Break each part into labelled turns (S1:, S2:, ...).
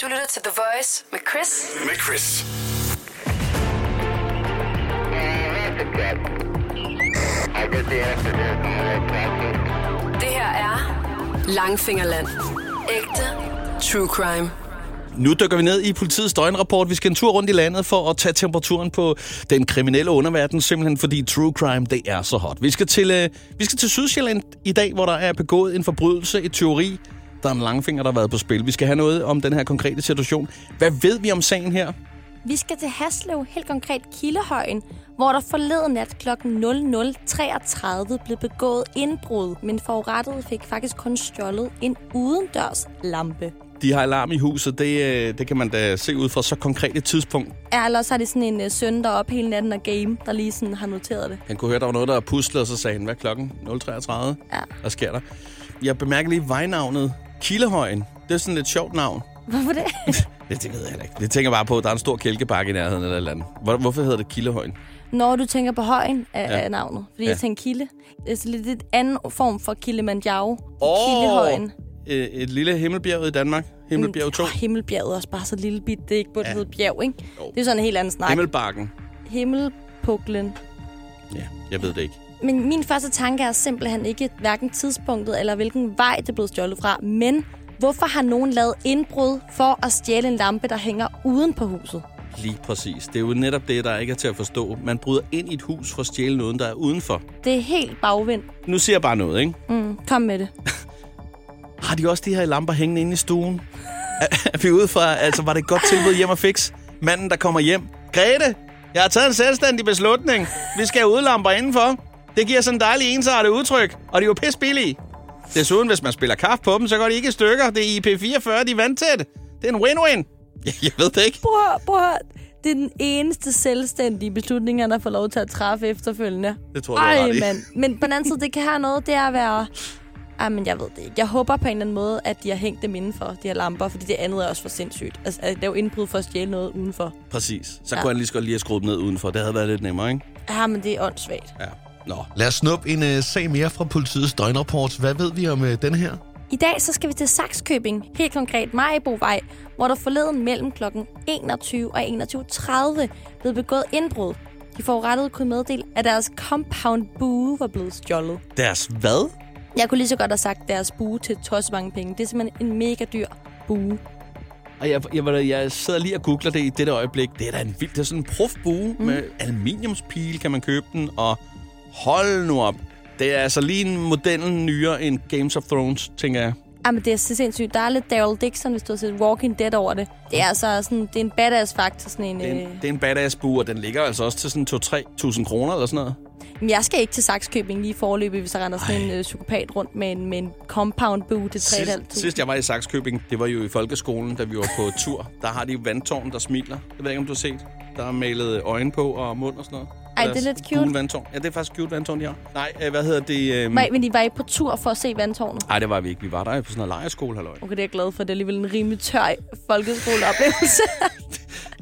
S1: Du lytter til The Voice med Chris.
S2: Med Chris.
S1: Det her er Langfingerland. Ægte true crime.
S3: Nu dykker vi ned i politiets døgnrapport. Vi skal en tur rundt i landet for at tage temperaturen på den kriminelle underverden, simpelthen fordi true crime, det er så hot. Vi skal til, øh, vi skal til Sydsjælland i dag, hvor der er begået en forbrydelse, et teori. Der er en langfinger, der har været på spil. Vi skal have noget om den her konkrete situation. Hvad ved vi om sagen her?
S4: Vi skal til Haslev, helt konkret Kildehøjen, hvor der forleden nat kl. 00.33 blev begået indbrud, men forurettede fik faktisk kun stjålet en udendørs lampe.
S3: De har alarm i huset, det, øh, det kan man da se ud fra så konkret et tidspunkt.
S4: Ja, Ellers har det sådan en øh, søn, der er oppe hele natten og game, der lige sådan har noteret det.
S3: Han kunne høre, der var noget, der puslede, og så sagde han, hvad er klokken? 0.33?
S4: Ja.
S3: Hvad sker der? Jeg bemærker lige vejnavnet Kildehøjen. Det er sådan et lidt sjovt navn.
S4: Hvorfor det?
S3: Det, det ved jeg heller ikke. Jeg tænker bare på, at der er en stor kælkebakke i nærheden eller et eller andet. Hvor, hvorfor hedder det Kildehøjen?
S4: Når du tænker på højen af,
S3: Ja.
S4: ja. af navnet, fordi
S3: Ja.
S4: ja. jeg tænker kilde. Det er så lidt en anden form for Kilimanjaro. Kildehøjen. Mm,
S3: Øh, Et lille himmelbjerg i Danmark. Himmelbjerg 2.
S4: Åh, Himmelbjerget er også bare så lille bit. Det er ikke på det
S3: Ja.
S4: ja. hedder bjerg, ikke?
S3: Jo.
S4: Det er sådan en helt anden snak. Himmel...
S3: Himmelbakken.
S4: Himmelpuklen.
S3: Ja, jeg ved det ikke.
S4: Men min første tanke er simpelthen ikke hverken tidspunktet eller hvilken vej det er blevet stjålet fra, men hvorfor har nogen lavet indbrud for at stjæle en lampe, der hænger uden på huset?
S3: Lige præcis. Det er jo netop det, der ikke er til at forstå. Man bryder ind i et hus for at stjæle noget, der er udenfor.
S4: Det er helt bagvind.
S3: Nu siger jeg bare noget, ikke?
S4: Mm, kom med det.
S3: Har de også de her lamper hængende inde i stuen? Er- er vi ude fra, altså var det et godt tilbud hjem og fix? Manden, der kommer hjem. Grete, jeg har taget en selvstændig beslutning. Vi skal have udlamper indenfor. Det giver sådan en dejlig ensartet udtryk, og de er jo pis billige. Desuden, hvis man spiller kaffe på dem, så går de ikke i stykker. Det er IP44, de er vandtæt. Det er en win-win. Jeg, jeg ved det ikke.
S4: Prøv, at høre, prøv. at høre. Det er den eneste selvstændige beslutning, han har fået lov til at træffe efterfølgende.
S3: Det tror jeg, du har ret i.
S4: mand. Men på den anden side, det kan have noget, det er at være... Ej, men jeg ved det ikke. Jeg håber på en eller anden måde, at de har hængt dem indenfor, de her lamper, fordi det andet er også for sindssygt. Altså, at lave indbrud for at stjæle noget udenfor.
S3: Præcis. Så
S4: Ja.
S3: kunne han lige så godt lige have skruet dem ned udenfor. Det havde været lidt nemmere, ikke?
S4: Ja, men det er åndssvagt.
S3: Ja. Nå.
S2: Lad os snuppe en øh, sag mere fra politiets døgnrapport. Hvad ved vi om øh, den her?
S4: I dag så skal vi til Saxkøbing, helt konkret Majbovej, hvor der forleden mellem kl. 21 og 21.30 blev begået indbrud. De forurettede kunne meddele, at deres compound bue var blevet stjålet.
S3: Deres hvad?
S4: Jeg kunne lige så godt have sagt deres bue til tosset mange penge. Det er simpelthen en mega dyr bue.
S3: Og jeg, jeg, jeg, jeg sidder lige og googler det i det øjeblik. Det er da en vild... Det er sådan en profbue mm. med aluminiumspil, kan man købe den. Og hold nu op. Det er altså lige en modellen nyere end Games of Thrones, tænker jeg.
S4: Jamen, det er så sindssygt. Der er lidt Daryl Dixon, hvis du har set Walking Dead over det. Det er altså sådan, det er en badass faktor, sådan en...
S3: Det er en,
S4: Øh...
S3: det er en badass bue, og den ligger altså også til sådan 2-3.000 kroner eller sådan noget.
S4: Men jeg skal ikke til Saxkøbing lige i forløbet, hvis der render sådan
S3: Ej.
S4: en øh, psykopat rundt med en, med en compound bue til 3.500.
S3: Sidst, sidst jeg var i Saxkøbing, det var jo i folkeskolen, da vi var på tur. Der har de jo vandtårn, der smiler. Det ved jeg ikke, om du har set. Der er malet øjne på og mund og sådan noget.
S4: Ej,
S3: Deres
S4: det er lidt cute.
S3: gule vandtårn. Ja, det er faktisk cute vandtårn, de har. Nej, øh, hvad hedder det? Øh...
S4: Nej, men I var I på tur for at se vandtårnet?
S3: Nej, det var vi ikke. Vi var der jo på sådan en lejerskole, halløj.
S4: Okay, det er jeg glad for. Det er alligevel en rimelig tør folkeskoleoplevelse.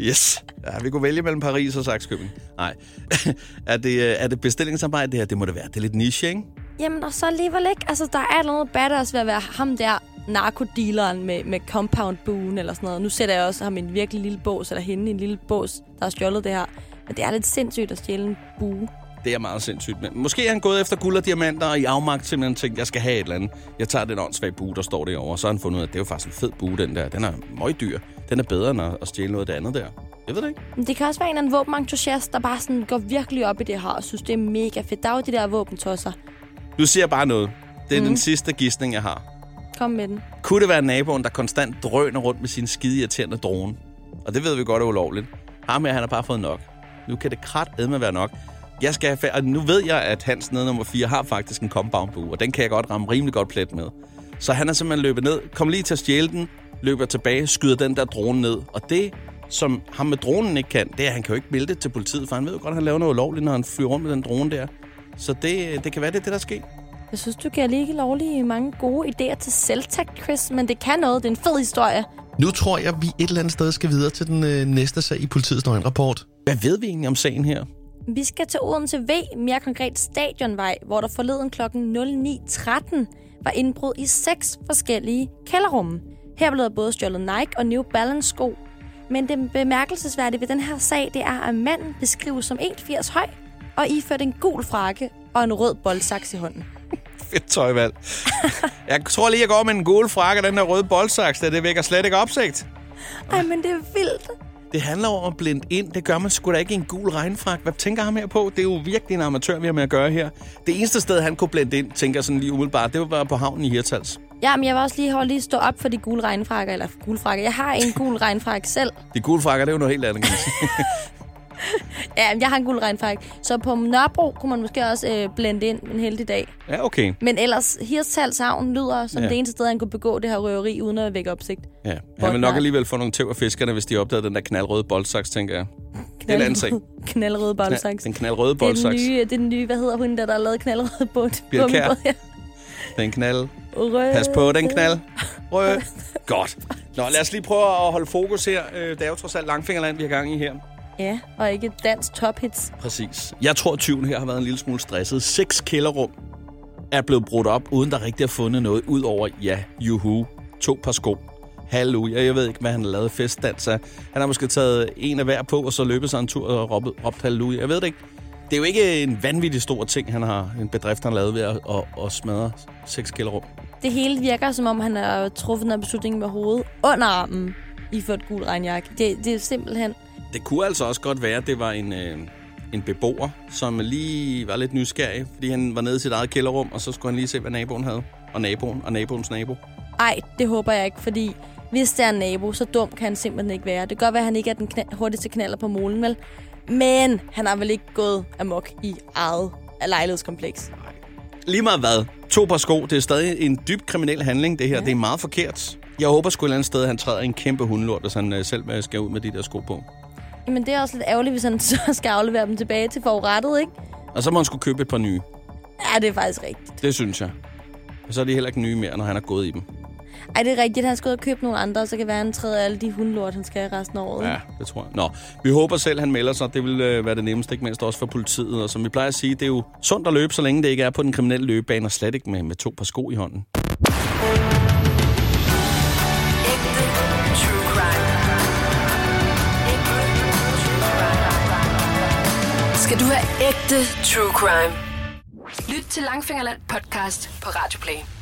S3: Yes. Ja, vi kunne vælge mellem Paris og Saxkøbing. Nej. er, det, øh, er det bestillingsarbejde det her? Det må det være. Det er lidt niche, ikke?
S4: Jamen, og så alligevel ikke. Altså, der er noget badass ved at være ham der narkodealeren med, med compound boon eller sådan noget. Nu sætter jeg også ham i en virkelig lille bås, eller hende i en lille bås, der har stjålet det her. Men det er lidt sindssygt at stjæle en bue.
S3: Det er meget sindssygt. Men måske er han gået efter guld og diamanter, og i afmagt simpelthen tænkt, jeg skal have et eller andet. Jeg tager den åndssvage bue, der står derovre, og så har han fundet ud af, at det er jo faktisk en fed bue, den der. Den er møgdyr. Den er bedre end at at stjæle noget af det andet der. Jeg ved det ikke.
S4: Men det kan også være en eller anden våbenentusiast, der bare sådan går virkelig op i det her, og synes, det er mega fedt. Der er jo de der våbentosser.
S3: Nu siger jeg bare noget. Det er mm. den sidste gidsning, jeg har.
S4: Kom med den.
S3: Kunne det være naboen, der konstant drøner rundt med sin skide irriterende drone? Og det ved vi godt er ulovligt. Ham her, han har bare fået nok. Nu kan det krat med være nok. Jeg skal have fa- og nu ved jeg, at Hans nede nummer 4 har faktisk en compound bue, og den kan jeg godt ramme rimelig godt plet med. Så han er simpelthen løbet ned, kom lige til at stjæle den, løber tilbage, skyder den der drone ned. Og det, som ham med dronen ikke kan, det er, at han kan jo ikke melde det til politiet, for han ved jo godt, at han laver noget ulovligt, når han flyver rundt med den drone der. Så det, det kan være, det er det, der sker.
S4: Jeg synes, du kan ligge lovlig i mange gode idéer til selvtakt, Chris, men det kan noget. Det er en fed historie.
S2: Nu tror jeg, vi et eller andet sted skal videre til den øh, næste sag i politiets døgnrapport.
S3: Hvad ved vi egentlig om sagen her?
S4: Vi skal til Odense V, mere konkret Stadionvej, hvor der forleden kl. 09.13 var indbrud i seks forskellige kælderrum. Her blev der både stjålet Nike og New Balance sko. Men det bemærkelsesværdige ved den her sag, det er, at manden beskrives som 1,80 høj og iført en gul frakke og en rød boldsaks i hånden.
S3: Fedt tøjvalg. jeg tror lige, jeg går med en gul frakke og den der røde boldsaks, der det vækker slet ikke opsigt.
S4: Ej, men det er vildt.
S3: Det handler om at blinde ind. Det gør man sgu da ikke i en gul regnfrak. Hvad tænker ham her på? Det er jo virkelig en amatør, vi har med at gøre her. Det eneste sted, han kunne blende ind, tænker jeg sådan lige umiddelbart, det var bare på havnen i Hirtals.
S4: Ja, men jeg vil også lige holde lige stå op for de gule regnfrakker, eller for gule frakker. Jeg har en gul regnfrakke selv.
S3: De gule frakker, det er jo noget helt andet, kan man sige.
S4: Ja, men jeg har en gul regnfrakke. Så på Nørrebro kunne man måske også øh, blende ind en heldig dag.
S3: Ja, okay.
S4: Men ellers, Hirtshals Havn lyder som
S3: Ja.
S4: ja. det eneste sted, han kunne begå det her røveri, uden at vække opsigt.
S3: Ja. Han vil
S4: Bolden
S3: nok
S4: er-
S3: alligevel få nogle tæv af fiskerne, hvis de opdagede den der knaldrøde boldsaks, tænker jeg. Det er en anden ting.
S4: Knaldrøde
S3: Ja,
S4: boldsaks.
S3: den knaldrøde
S4: det, er den
S3: boldsaks.
S4: nye, det er den nye, hvad hedder hun, der, der har lavet knaldrøde bund?
S3: Birthe Kjær.
S4: bummibåd, ja.
S3: Den knald.
S4: Rød.
S3: Pas på, den knald. Rød. Godt. Nå, lad os lige prøve at holde fokus her. Øh, Det er jo trods alt Langfingerland, vi har gang i her.
S4: Ja, og ikke dansk tophits.
S3: Præcis. Jeg tror, at tyven her har været en lille smule stresset. Seks kælderrum er blevet brudt op, uden der rigtig er fundet noget, udover, ja, juhu, to par sko. Halleluja, jeg ved ikke, hvad han lavede festdans af. Han har måske taget en af hver på, og så løbet sig en tur og råbet, råbt halleluja. Jeg ved det ikke. Det er jo ikke en vanvittig stor ting, han har, en bedrift, han har lavet ved at, at, at smadre seks kælderrum.
S4: Det hele virker, som om han har truffet den her beslutning med hovedet under armen i for et gul regnjakke. Det, det er simpelthen...
S3: Det kunne altså også godt være, at det var en, øh, en beboer, som lige var lidt nysgerrig, fordi han var nede i sit eget kælderrum, og så skulle han lige se, hvad naboen havde. Og naboen, og naboens nabo.
S4: Ej, det håber jeg ikke, fordi hvis der er en nabo, så dum kan han simpelthen ikke være. Det kan godt være, at han ikke er den kna- hurtigste knaller på molen, vel? Men han har vel ikke gået amok i eget lejlighedskompleks.
S3: Lige meget hvad. To par sko, det er stadig en dybt kriminel handling, det her. Ja. Det er meget forkert. Jeg håber sgu et eller andet sted, at han træder i en kæmpe hundelort, hvis han øh, selv øh, skal ud med de der sko på.
S4: Men det er også lidt ærgerligt, hvis han så skal aflevere dem tilbage til forurettet, ikke?
S3: Og så må han skulle købe et par nye.
S4: Ja, det er faktisk rigtigt.
S3: Det synes jeg. Og så er de heller ikke nye mere, når han har gået i dem.
S4: Ej, det er rigtigt. Han skal ud og købe nogle andre, og så kan være, at han træder alle de hundlort, han skal have resten af året.
S3: Ja, det tror jeg. Nå, vi håber selv, han melder sig. Det vil øh, være det nemmeste, ikke mindst også for politiet. Og som vi plejer at sige, det er jo sundt at løbe, så længe det ikke er på den kriminelle løbebane, og slet ikke med, med to par sko i hånden.
S1: Ægte true crime. Ægte true crime. Skal du have ægte true crime? Lyt til Langfingerland podcast på Radio Play.